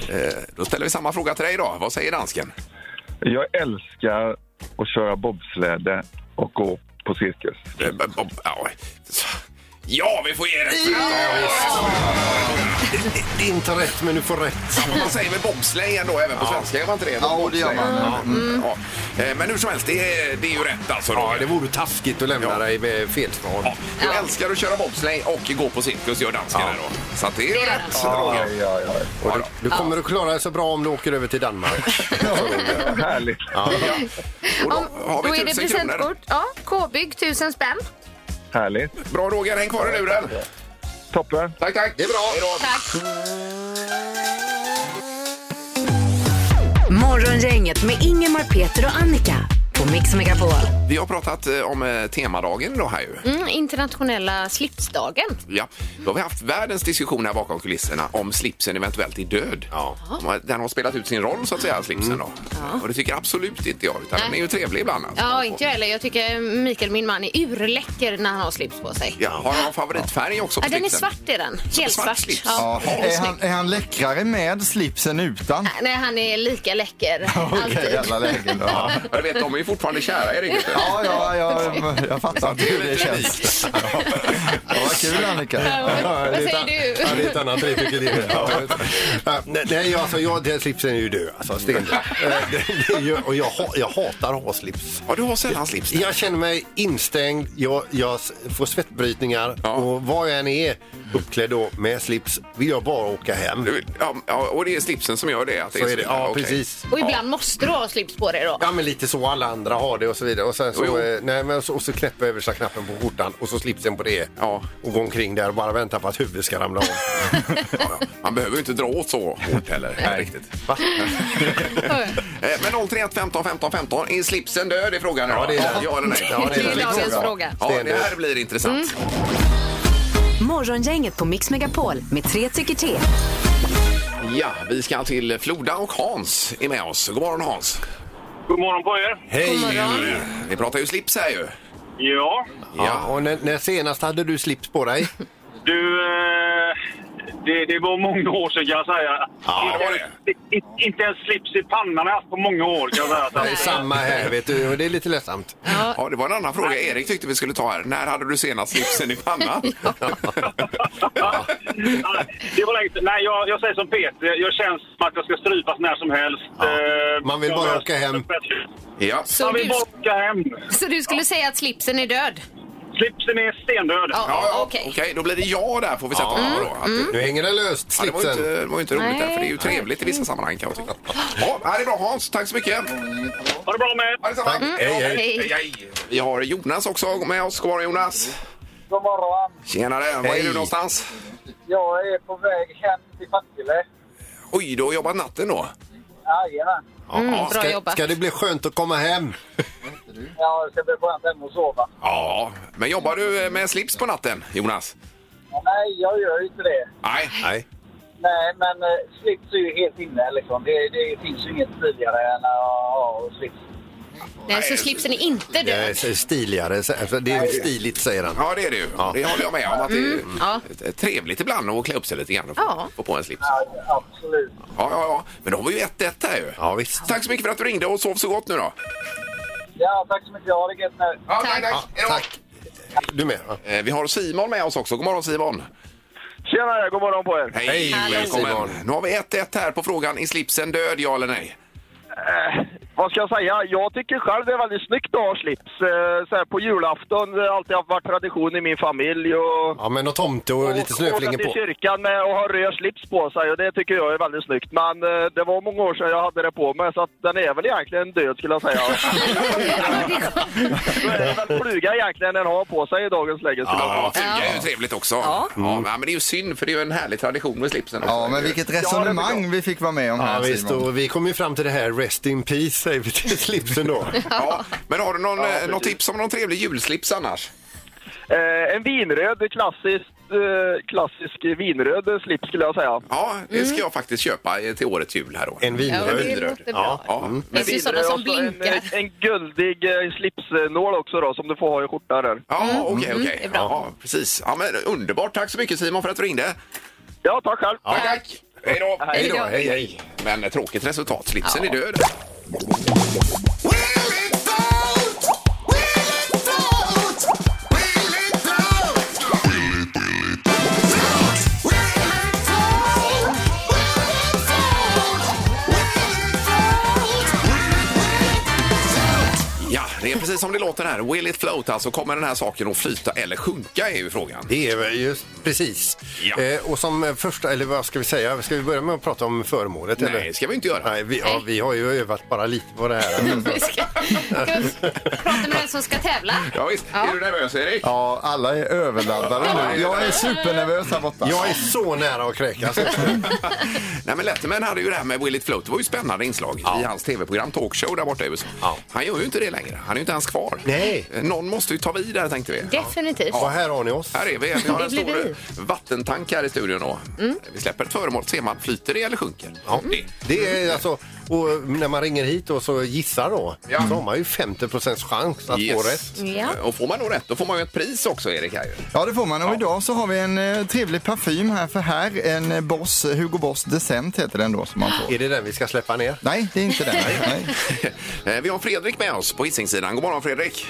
Speaker 3: Eh, Då ställer vi samma fråga till dig då. Vad säger dansken?
Speaker 10: Jag älskar att köra bobsläde och gå på cirkus.
Speaker 3: Eh, b- b- ja. Ja, vi får ge rätt!
Speaker 4: Det är inte rätt, men du får rätt.
Speaker 3: Ja, Man säger väl bobsleigh ändå, även på svenska? Gör man inte det?
Speaker 7: Ja, det gör man.
Speaker 3: Bobsleigh. Ja. Eh, Men hur som helst, det är, det är ju rätt alltså.
Speaker 4: Ja,
Speaker 3: Roger.
Speaker 4: det vore taskigt att lämna
Speaker 3: Ja.
Speaker 4: dig med fel svar.
Speaker 3: Ja, du älskar att köra bobsleigh och gå på cirkus, gör danskarna då. Så att det är ju rätt, Roger.
Speaker 4: Och du, du kommer att klara dig så bra om du åker över till Danmark.
Speaker 10: Härligt.
Speaker 3: Och
Speaker 5: Om,
Speaker 3: då har
Speaker 5: då
Speaker 3: vi
Speaker 5: är det
Speaker 3: tusen kronor.
Speaker 5: presentkort. Ja, K-bygg, tusen spänn.
Speaker 10: Härligt.
Speaker 3: Bra Roger, häng kvar i luren.
Speaker 10: Toppen.
Speaker 3: Tack, tack. Det är bra. Hej då.
Speaker 5: Tack.
Speaker 2: Morgongänget med Ingemar, Peter och Annika på Mix Megapol.
Speaker 3: Vi har pratat eh, om eh, temadagen då här ju.
Speaker 5: Mm, internationella slipsdagen.
Speaker 3: Ja, då har vi haft världens diskussion här bakom kulisserna om slipsen eventuellt är död. Ja. Den har spelat ut sin roll så att säga, slipsen
Speaker 5: Mm.
Speaker 3: då. Och det tycker absolut inte jag, utan den är ju trevlig ibland. Alltså.
Speaker 5: Ja, inte jag heller. Jag tycker Mikael, min man, är urläcker när han har slips på sig.
Speaker 3: Ja, har han favoritfärg också på
Speaker 5: Ja, den är
Speaker 3: slipsen?
Speaker 5: svart är den. Helt
Speaker 3: svart
Speaker 5: svart.
Speaker 3: slips?
Speaker 7: Ja.
Speaker 5: Ja.
Speaker 7: Är, han, är han läckrare med slipsen utan?
Speaker 5: Nej, han är lika läcker.
Speaker 7: Okej,
Speaker 5: Alltid. <laughs>
Speaker 7: jävla lägen då. Ja,
Speaker 3: Ja, du vet, de är ju fortfarande kära, är det inte?
Speaker 7: ja, ja jag, jag fattar inte hur det känns. Ja, vad kul Annika.
Speaker 5: Vad
Speaker 4: det är
Speaker 5: säger
Speaker 4: ett-
Speaker 5: du?
Speaker 4: Ja, det är ett annat uttryck i det. Ja. Ja, nej, Nej, alltså, jag, den slipsen är ju död. Alltså, <laughs> stendöd. Eh, det- det är ju- Och jag, ha- jag hatar att ha slips.
Speaker 3: Ja, du har sällan slips.
Speaker 4: Jag känner mig instängd, jag, jag s- får svettbrytningar
Speaker 3: Ja.
Speaker 4: och var jag än är uppklädd då med slips vill jag bara åka hem.
Speaker 3: Du- Ja, ja, och det är slipsen som gör det? Att det
Speaker 4: Så är det. Ja,
Speaker 3: okej.
Speaker 4: precis.
Speaker 5: <laughs> Och ibland måste du ha slips på dig då. <laughs>
Speaker 4: Ja, men lite så. Alla andra har det och så vidare. Och sen så,
Speaker 3: Jo, jo.
Speaker 4: eh, nej, men så, och så knäpper jag översta knappen på skjortan och så slipsen på det.
Speaker 3: Ja.
Speaker 4: Och går omkring där och bara väntar på att huvudet ska ramla av.
Speaker 3: <laughs> Ja, ja. Man behöver ju inte dra åt så hårt heller. Nej. Riktigt.
Speaker 4: Va?
Speaker 3: <laughs> Eh, Men 031 15 15 15, är slipsen död? är frågan idag.
Speaker 4: Ja, det är den.
Speaker 3: Ja, eller nej?
Speaker 4: Ja,
Speaker 5: Det är dagens fråga.
Speaker 3: Ja, det här blir intressant.
Speaker 2: Morgongänget på Mix Megapol med tre tycker till.
Speaker 3: Ja, vi ska till Floda och Hans är med oss. God morgon Hans!
Speaker 11: God morgon på er!
Speaker 4: God morgon.
Speaker 3: Vi pratar ju slips här ju.
Speaker 11: Ja,
Speaker 4: Ja, och när, när senast hade du slips på dig?
Speaker 11: du... eh, Det, det var många år sedan kan jag säga.
Speaker 4: Ja,
Speaker 11: inte,
Speaker 4: det var
Speaker 11: Inte, inte ens slips i pannan har jag haft på många år kan jag säga.
Speaker 4: Det är samma här, vet du. Och det är lite ledsamt.
Speaker 3: Ja. det var en annan fråga Erik tyckte vi skulle ta här. När hade du senast slipsen i
Speaker 5: <laughs>
Speaker 3: pannan?
Speaker 11: Det var länge sedan. Nej, jag, jag säger som Peter. Jag känns som att jag ska strypas när som helst. Eh,
Speaker 4: Man vill
Speaker 11: jag
Speaker 4: bara
Speaker 11: har-
Speaker 4: åka hem.
Speaker 3: Ja.
Speaker 5: Så
Speaker 11: Man vill
Speaker 5: du-
Speaker 11: bara åka hem.
Speaker 5: Så du skulle säga att slipsen är död?
Speaker 11: Slipsen är stendöd.
Speaker 5: Ja,
Speaker 3: ja,
Speaker 5: okej.
Speaker 3: Okej, då blir det ja där får vi sätta mm. då. Att,
Speaker 4: Nu hänger den löst,
Speaker 3: Ja, det var ju inte, det var ju inte roligt
Speaker 5: Nej.
Speaker 3: där, för det är ju trevligt i vissa sammanhang kan jag tycka. Ja, här är bra Hans, tack så mycket.
Speaker 11: Ha det bra med
Speaker 3: er. Tack.
Speaker 11: Mm,
Speaker 3: Hej, hej.
Speaker 11: hej.
Speaker 3: Hej, hej. Vi har Jonas också med oss. God morgon Jonas.
Speaker 12: God morgon.
Speaker 3: Tjenare, var är
Speaker 12: Hej.
Speaker 3: du någonstans?
Speaker 12: Jag är på väg hem till Partille.
Speaker 3: Oj, du har jobbat natten då?
Speaker 12: Jajamän.
Speaker 5: Mm,
Speaker 4: ska, ska det bli skönt att komma hem?
Speaker 12: Ja, jag ska bli skönt hem och sova.
Speaker 3: Ja, men jobbar du eh, med slips på natten, Jonas?
Speaker 12: Ja, Nej, jag gör ju inte det.
Speaker 3: Nej. Nej.
Speaker 12: Nej, men eh, slips är ju helt inne liksom. Det, det finns ju inget tidigare än att ha slips.
Speaker 5: Nej, så slipsen är inte
Speaker 4: Det
Speaker 5: död?
Speaker 4: är stiligare. så- alltså, Det är stiligt, säger han.
Speaker 3: Ja, det är det ju. Det håller jag med om. Att det är
Speaker 5: Mm, ja.
Speaker 3: eh, trevligt ibland att klä upp sig lite grann och få,
Speaker 5: Ja.
Speaker 3: få på en slips.
Speaker 12: Ja, absolut.
Speaker 3: Ja, ja, ja. Men då har vi ju 1-1 här ju. Ja, visst. Tack så mycket för att du ringde och sov så gott nu då.
Speaker 12: Ja, tack så mycket. Ha det gött nu.
Speaker 3: Ja, tack, tack. tack.
Speaker 4: Du med?
Speaker 3: Eh, Vi har Simon med oss också. God morgon Simon.
Speaker 11: Tjenare, god morgon på er.
Speaker 3: Hej,
Speaker 4: Hej, Hallå.
Speaker 3: välkommen.
Speaker 4: Simon.
Speaker 3: Nu har vi 1-1 här på frågan. Är slipsen död, ja eller nej?
Speaker 11: Eh, vad ska jag säga? Jag tycker själv det är väldigt snyggt att ha slips. Eh, så här på julafton, det har alltid haft varit tradition i min familj. Och...
Speaker 4: Ja, men och tomte och lite snöflingor
Speaker 11: Åka
Speaker 4: på.
Speaker 11: till kyrkan med och ha röd slips på sig och det tycker jag är väldigt snyggt. Men eh, det var många år sedan jag hade det på mig så att den är väl egentligen död skulle jag säga. Då är det väl fluga egentligen den har på sig i dagens läge skulle
Speaker 3: Ja,
Speaker 11: jag säga.
Speaker 3: fluga är ju trevligt också. Ja. men det är ju synd för det är ju en härlig tradition med slipsen. också.
Speaker 7: Ja, men vilket resonemang vi fick vara med om
Speaker 4: Ja,
Speaker 7: här
Speaker 4: visst,
Speaker 7: Simon.
Speaker 4: och vi kom ju fram till det här Rest in Peace, säger vi till slipsen då.
Speaker 3: Ja, men har du någon, eh, något tips om någon trevlig julslips annars?
Speaker 11: Eh, en vinröd, klassisk, eh, klassisk vinröd slips skulle jag säga.
Speaker 3: Ja, Det ska jag faktiskt köpa eh, till årets jul här då.
Speaker 4: En
Speaker 11: vinröd. Ja, det låter bra.
Speaker 3: Ja. Mm.
Speaker 11: Men
Speaker 5: finns ju sådana som blinkar. <laughs>
Speaker 11: En, en guldig eh, slipsnål också då, som du får ha i skjortan där.
Speaker 3: Ja, okej,
Speaker 11: Mm,
Speaker 3: okej.
Speaker 11: det är bra.
Speaker 3: Ja, precis. Ja, men underbart. Tack så mycket Simon för att du ringde.
Speaker 11: Ja, tack själv.
Speaker 3: Tack, tack. Hej då.
Speaker 4: Hej då, hej,
Speaker 3: Men eh, tråkigt resultat. Slipsen
Speaker 4: Ja.
Speaker 3: är död. Ja, det är precis som det låter här. Will it float? Alltså kommer den här saken att flyta eller sjunka är ju frågan.
Speaker 4: Det är väl just precis. Eh, och som eh, första, eller vad ska vi säga, ska vi börja med att prata om föremålet?
Speaker 3: Nej,
Speaker 4: eller?
Speaker 3: ska vi inte göra.
Speaker 4: Nej, vi, ja, vi har ju övat bara lite på det
Speaker 5: <laughs>
Speaker 4: här.
Speaker 5: Prata med den som ska tävla.
Speaker 3: Ja, visst. Är du nervös Erik?
Speaker 7: Ja, alla är överladdade nu. Jag är supernervös här borta.
Speaker 4: Jag är så nära att kräkas.
Speaker 3: Nej, men Letterman hade ju det här med Will it float. Det var ju spännande inslag i hans tv-program Talkshow där borta i USA. Han gör ju inte det längre. Han är ju inte ens kvar.
Speaker 4: Nej.
Speaker 3: Eh, Någon måste ju ta vid där tänkte vi.
Speaker 5: Definitivt.
Speaker 4: Ja, här har ni oss.
Speaker 3: Här är vi. Vi har en
Speaker 5: Det blir
Speaker 3: stor vattentank här i studion. Då. Vi släpper ett föremål. Ser man, flyter det eller sjunker? Ja. Det.
Speaker 4: Det är alltså, och när man ringer hit och så gissar då, så har man ju 50 chans att
Speaker 3: Yes.
Speaker 4: få rätt.
Speaker 5: Ja.
Speaker 3: Och får man nog rätt, då får man ju ett pris också, Erik. <laughs> Här. ju.
Speaker 7: Ja, det får man. Och idag så har vi en eh, trevlig parfym här för här. En eh, Boss, Hugo Boss Decent heter den då som man får.
Speaker 4: Är det den vi ska släppa ner?
Speaker 7: Nej, det är inte den. Nej, nej.
Speaker 3: Eh, Vi har Fredrik med oss på Hisingssidan. God morgon, Fredrik!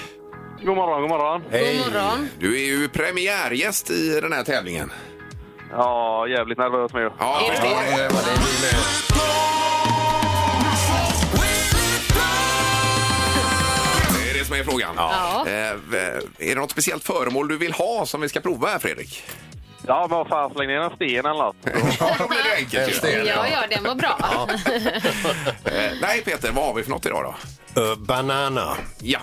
Speaker 11: God morgon, god morgon.
Speaker 5: God morgon.
Speaker 3: Du är ju premiärgäst i den här tävlingen.
Speaker 11: Ja, jävligt nervös med.
Speaker 3: Ja, jag förstår det. Det är det som är frågan.
Speaker 5: Ja.
Speaker 3: Eh, v- Är det något speciellt föremål du vill ha som vi ska prova här, Fredrik?
Speaker 11: Ja, men vad fan, släng ner en sten eller nåt.
Speaker 3: <laughs> Ja, då blir det enkelt ju.
Speaker 5: Ja, ja, den var bra.
Speaker 3: Eh, Nej, Peter, vad har vi för något idag då?
Speaker 4: Eh, banana.
Speaker 3: Ja,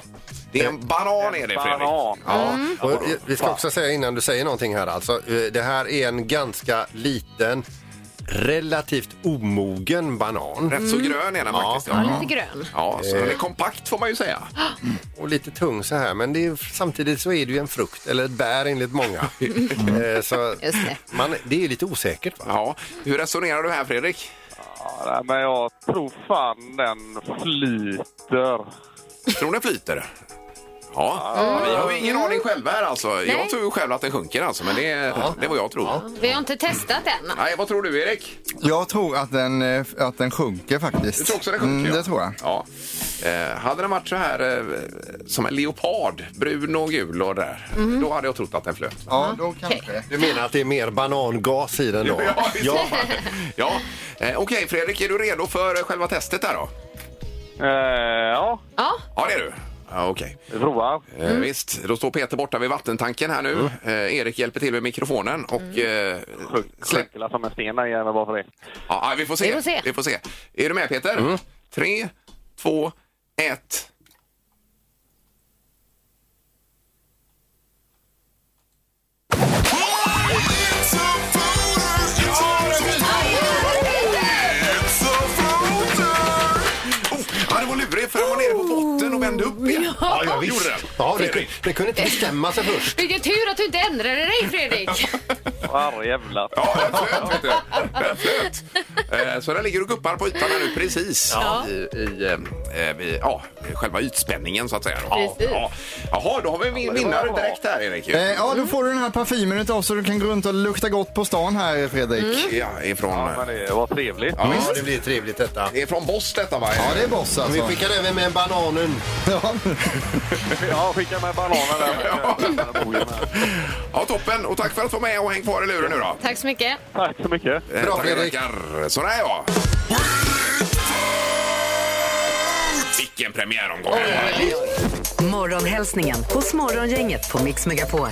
Speaker 3: det är en banan är det, Fredrik.
Speaker 4: banan.
Speaker 3: Ja.
Speaker 4: Och eh, vi ska också säga innan du säger någonting här alltså, eh, det här är en ganska liten relativt omogen banan.
Speaker 3: Rätt så Mm. grön är den faktiskt, ja. Eh. Ja, lite grön. Ja, så den är kompakt får man ju säga.
Speaker 4: Och lite tung så här, men det är, samtidigt så är det ju en frukt, eller ett bär enligt många.
Speaker 3: <laughs> Mm.
Speaker 4: Eh, så man, det är lite osäkert. Va?
Speaker 3: Ja. Hur resonerar du här Fredrik?
Speaker 11: nej, men jag tror fan den flyter.
Speaker 3: Tror den flyter? Ja, vi har ju ingen aning själva här alltså.
Speaker 5: Nej.
Speaker 3: Jag tror ju själv att den sjunker alltså, men det, det är vad jag tror.
Speaker 5: Vi har inte testat än.
Speaker 3: Nej, vad tror du Erik?
Speaker 7: Jag tror att den, eh, att den sjunker faktiskt.
Speaker 3: Du tror också den sjunker?
Speaker 7: Mm,
Speaker 3: ja.
Speaker 7: det tror jag.
Speaker 3: Ja. Eh, hade den varit så här eh, som en leopard, brun och gul och där, då hade jag trott att den flöt.
Speaker 7: Ja, då kanske.
Speaker 4: Du menar att det är mer banangas i den då?
Speaker 3: Ja, <laughs> ja. ja. Eh, Okej Fredrik, är du redo för själva testet där då?
Speaker 11: Eh, ja.
Speaker 5: Ja.
Speaker 3: Ja, det är du. Ja, Okej.
Speaker 11: Vi provar.
Speaker 3: Eh, Visst, då står Peter borta vid vattentanken här nu. Eh, Erik hjälper till med mikrofonen och... Mm. Eh, släpp...
Speaker 11: Sjunker som en sten där jäveln bara för det.
Speaker 3: Ja, ja, vi får se.
Speaker 11: Vi får se.
Speaker 3: Är du med Peter? Tre, två, ett. Ja, det Oh, var lurigt för den var nere på botten och vände upp igen.
Speaker 5: Ja, ja,
Speaker 4: visst.
Speaker 3: Gjorde den.
Speaker 4: Ja, det, kunde- det kunde inte bestämma sig först.
Speaker 5: Vilken tur att du inte ändrade dig
Speaker 3: <laughs>
Speaker 5: Fredrik.
Speaker 11: Herrejävlar.
Speaker 3: Eh, Så där ligger och guppar på ytan här nu precis.
Speaker 5: Ja.
Speaker 3: I, i, eh, eh, vid, ja, själva ytspänningen så att säga. då.
Speaker 5: Precis.
Speaker 3: Ja. Jaha, då har vi en vin- vinnare direkt här Erik. ju.
Speaker 7: Eh, ja, då får du den här parfymen utav så du kan gå runt och lukta gott på stan här, Fredrik.
Speaker 3: Ja, ifrån... Ja, men
Speaker 11: det var trevligt.
Speaker 3: Ja,
Speaker 4: det blir trevligt detta.
Speaker 3: Det är från Boss detta va?
Speaker 7: Ja, det är boss alltså.
Speaker 4: Vi skickar över med bananen.
Speaker 7: Ja.
Speaker 11: Ja, skicka med bananer där.
Speaker 3: Ja, toppen. Och tack för att du var med och häng kvar i luren nu då.
Speaker 5: Tack så mycket.
Speaker 11: Tack så mycket.
Speaker 3: Eh,
Speaker 11: Bra,
Speaker 3: tack,
Speaker 11: Fredrik.
Speaker 3: tackar. Sådär ja. Vilken premiäromgång det var.
Speaker 2: Morgonhälsningen hos Morgongänget på Mix Megapol.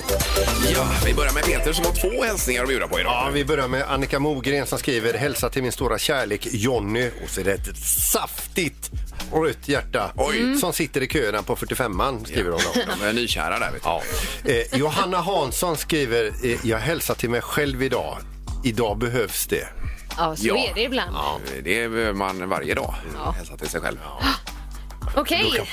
Speaker 3: Ja, vi börjar med Peter som har två hälsningar att bjuda på idag.
Speaker 4: Ja, vi börjar med Annika Mogren som skriver Hälsa till min stora kärlek Jonny och så är det ett saftigt rött hjärta Mm. som sitter i köerna på 45an skriver hon. då.
Speaker 3: De är nykära där. Vet du.
Speaker 4: <laughs> Ja. Eh, Johanna Hansson skriver eh, Jag hälsar till mig själv idag. Idag behövs det.
Speaker 5: Ja, så
Speaker 3: Ja.
Speaker 5: är det ibland.
Speaker 3: Ja, det behöver man varje dag. Hälsa till sig själv.
Speaker 5: Okej.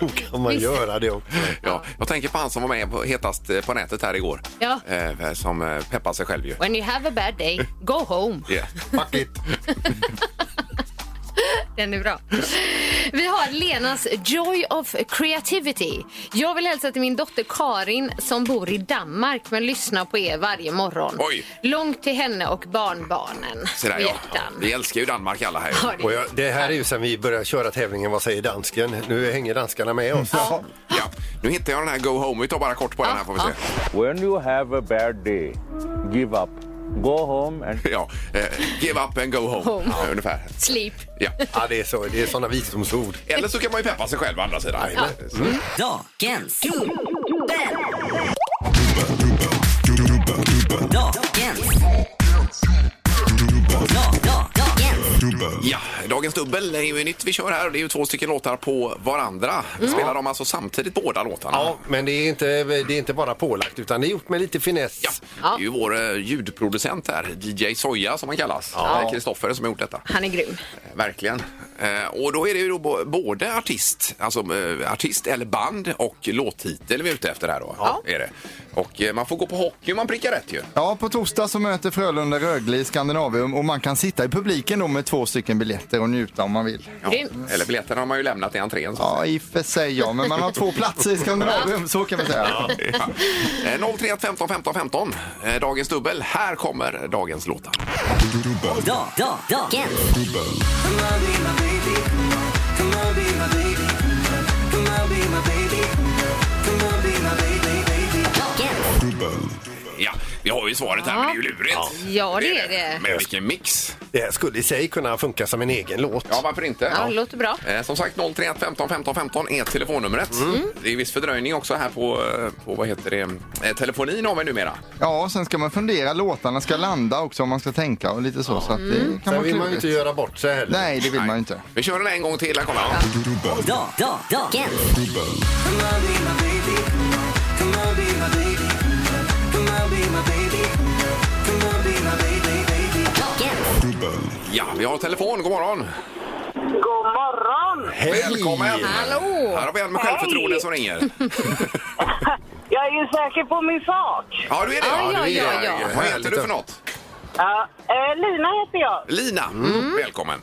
Speaker 4: Då kan man <laughs>
Speaker 5: Visst.
Speaker 4: göra det också.
Speaker 3: Ja, jag tänker på han som var med på hetast eh, på nätet här igår.
Speaker 5: Ja.
Speaker 3: Eh, som eh, peppar sig själv ju.
Speaker 5: When you have a bad day, go home.
Speaker 3: Yeah.
Speaker 4: Fuck it.
Speaker 5: Den är bra. Vi har Lenas Joy of Creativity. Jag vill hälsa till min dotter Karin som bor i Danmark men lyssnar på er varje morgon.
Speaker 3: Oj.
Speaker 5: Långt till henne och barnbarnen.
Speaker 3: Så där, ja.
Speaker 5: Hjärtan.
Speaker 3: Vi älskar ju Danmark alla här.
Speaker 5: Ja, det-
Speaker 4: Och jag, det här är ju sen vi började köra tävlingen Vad säger dansken? Nu hänger danskarna med oss.
Speaker 3: Ja. Nu hittar jag den här Go Home. Vi tar bara kort på den här får vi se.
Speaker 13: When you have a bad day, give up. Go home and...
Speaker 3: Ja, eh, give up and go home.
Speaker 5: Home.
Speaker 3: Ja, ungefär.
Speaker 5: Sleep.
Speaker 3: Ja.
Speaker 4: Ja, det är, så, det är sådana visdomsord.
Speaker 3: Eller så kan man ju peppa sig själv å andra sidan.
Speaker 4: Ja.
Speaker 3: Mm.
Speaker 1: Dagens
Speaker 3: Ja, Dagens dubbel är ju nytt vi kör här. Det är ju två stycken låtar på varandra. Spelar de alltså samtidigt båda låtarna?
Speaker 4: Mm. Ja, men det är, inte, det är inte bara pålagt utan det är gjort med lite finess.
Speaker 3: Det är ju vår eh, ljudproducent här, DJ Soja som han kallas.
Speaker 4: Ja.
Speaker 3: Det är Kristoffer som har gjort detta.
Speaker 5: Han är grym.
Speaker 3: Eh, Verkligen. Eh, Och då är det ju då bo- både artist, alltså eh, artist eller band och låttitel vi är ute efter här då.
Speaker 7: Ja.
Speaker 3: Är det. Och eh, man får gå på hockey om man prickar rätt ju.
Speaker 7: Ja, på torsdag så möter Frölunda Rögle i Skandinavium och man kan sitta i publiken då med två stycken biljetter och njuta om man vill.
Speaker 3: Ja. Eller biljetterna har man ju lämnat i entrén. Så.
Speaker 7: Ja, i och för sig ja, men man har två platser i Skandinavium, så kan man säga.
Speaker 3: Ja. Eh, 031 15 15 15. Eh, Dagens dubbel. Här kommer dagens låtar. Ja, vi har ju svaret här,
Speaker 5: Ja.
Speaker 3: men det är ju lurigt.
Speaker 5: Ja, det är det.
Speaker 3: Men vilken mix!
Speaker 4: Det här skulle i sig kunna funka som en egen låt.
Speaker 3: Ja, varför inte?
Speaker 5: Ja, det låter bra.
Speaker 3: Eh, Som sagt, 031 15 15 15 är telefonnumret.
Speaker 5: Mm.
Speaker 3: Det är viss fördröjning också här på, eh, på vad heter det, eh, telefonin har vi numera.
Speaker 7: Ja, och sen ska man fundera, låtarna ska landa också om man ska tänka och lite så. så att det kan
Speaker 4: Mm. Sen
Speaker 7: vara
Speaker 4: vill man ju
Speaker 7: klurigt.
Speaker 4: inte göra bort sig heller.
Speaker 7: Nej, det vill man ju inte.
Speaker 3: Vi kör den en gång till. Här kommer den.
Speaker 1: Dagens.
Speaker 3: Vi har telefon, god morgon!
Speaker 5: God morgon!
Speaker 3: Välkommen!
Speaker 5: Hallå!
Speaker 3: Här har vi en med självförtroende
Speaker 5: Hej.
Speaker 3: som ringer.
Speaker 5: <laughs> Jag är ju säker på min sak.
Speaker 3: Ja, du är det?
Speaker 5: Ja,
Speaker 3: du
Speaker 5: ja,
Speaker 3: är det.
Speaker 5: ja, ja.
Speaker 3: Vad heter du för något?
Speaker 5: Ja, eh, Lina heter jag.
Speaker 3: Lina, välkommen.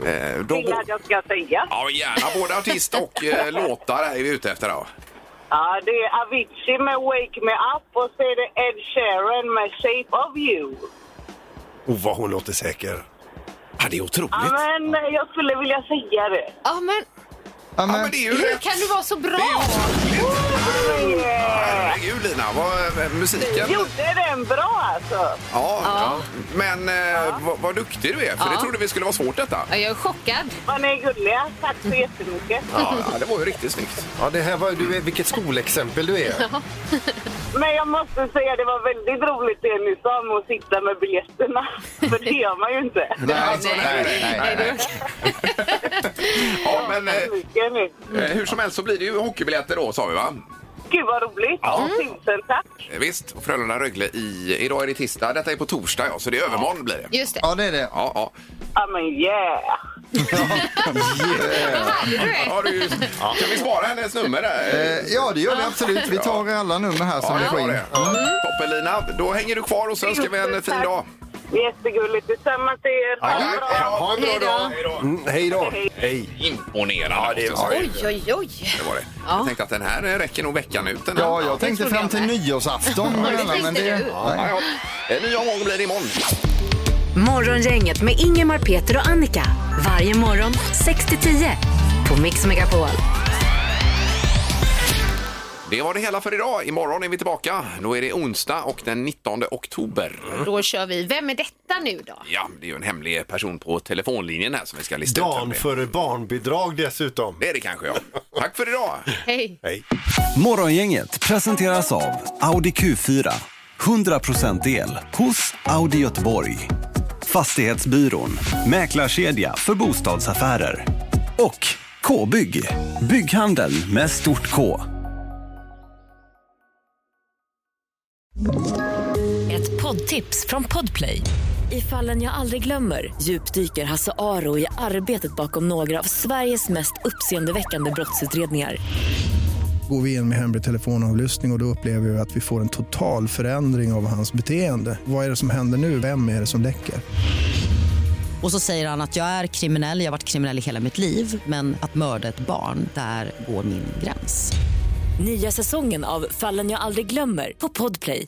Speaker 3: Mm. Eh, då,
Speaker 5: Vill att jag ska säga.
Speaker 3: ja, gärna både artist och <laughs> eh, låtar är vi ute efter. Då.
Speaker 5: Ja, det är Avicii med Wake Me Up och så är det Ed Sheeran med Shape of You.
Speaker 4: Oh, vad hon låter säker.
Speaker 3: Ja, det är otroligt.
Speaker 5: Ja, men eh, jag skulle vilja säga det.
Speaker 14: Ja, men
Speaker 7: Ja, men,
Speaker 14: hur kan du vara så bra?
Speaker 3: Herregud Lina, vad, eh, musiken.
Speaker 5: Gjorde den bra alltså?
Speaker 3: Ja, ja. men eh, Vad, vad duktig du är, för
Speaker 5: Ja.
Speaker 3: det trodde vi skulle vara svårt detta.
Speaker 14: jag är chockad.
Speaker 5: Vad ni är gulliga. Tack så jättemycket.
Speaker 3: Ja, ja, det var ju riktigt snyggt.
Speaker 4: Ja, det här var ju, du är, vilket skolexempel du är.
Speaker 5: Men jag måste säga det var väldigt roligt det ni sa om att sitta med
Speaker 14: <laughs>
Speaker 5: biljetterna. För det gör man ju inte.
Speaker 3: Nej, alltså, nej, nej, nej, nej. <laughs> Ja, men
Speaker 5: eh,
Speaker 3: eh, hur som helst så blir det ju hockeybiljetter då, sa vi va?
Speaker 5: Gud vad roligt.
Speaker 3: Ja.
Speaker 5: Tusen tack.
Speaker 3: Eh, Visst, och Frölunda-Rögle i... Idag är det tisdag, detta är på torsdag ja, så det är övermorgon blir det.
Speaker 14: Just det.
Speaker 7: Ja, det är det.
Speaker 3: Ja, ja.
Speaker 5: Ja men yeah.
Speaker 3: Ja, du, kan vi spara hennes nummer där?
Speaker 7: Eh, ja, det gör vi absolut. Vi tar alla nummer här som vi får in. Mm.
Speaker 3: Toppen Lina, då hänger du kvar och så önskar vi en fin dag.
Speaker 5: Jättegulligt. Detsamma till er. Ha det bra.
Speaker 4: Ha en bra dag. Mm, Hej då. Hej.
Speaker 3: Imponerande. Ja, det, var
Speaker 14: Oj, oj, oj.
Speaker 3: det var det. Jag tänkte att den här eh, räcker nog veckan ut. Den här.
Speaker 7: Ja, jag tänkte fram till nyårsafton.
Speaker 3: Ja, det
Speaker 7: men
Speaker 3: tänkte
Speaker 7: det,
Speaker 3: du. Ja, ja. En ny omgång blir det imorgon.
Speaker 15: Morgongänget med Ingemar, Peter och Annika. Varje morgon 6 till 10 på Mix Megapol.
Speaker 3: Det var det hela för idag. Imorgon är vi tillbaka. Då är det onsdag och den 19 oktober.
Speaker 14: Då kör vi. Vem är detta nu då?
Speaker 3: Ja, det är ju en hemlig person på telefonlinjen här som vi ska lista ut. vem
Speaker 4: Dan
Speaker 3: det är.
Speaker 4: för barnbidrag dessutom.
Speaker 3: Det är det kanske, ja. Tack för idag!
Speaker 14: Hej.
Speaker 4: Hej.
Speaker 16: Morgongänget presenteras av Audi Q4. 100% el hos Audi Göteborg. Fastighetsbyrån, mäklarkedja för bostadsaffärer. Och K-bygg, bygghandeln med stort K.
Speaker 2: Ett poddtips från Podplay. I fallen jag aldrig glömmer djupdyker Hasse Aro i arbetet bakom några av Sveriges mest uppseendeväckande brottsutredningar.
Speaker 17: Går vi in med hemlig telefonavlyssning och, och då upplever vi att vi får en total förändring av hans beteende. Vad är det som händer nu? Vem är det som läcker?
Speaker 18: Och så säger han att jag är kriminell, jag har varit kriminell i hela mitt liv men att mörda ett barn, där går min gräns.
Speaker 2: Nya säsongen av Fallen jag aldrig glömmer på Podplay.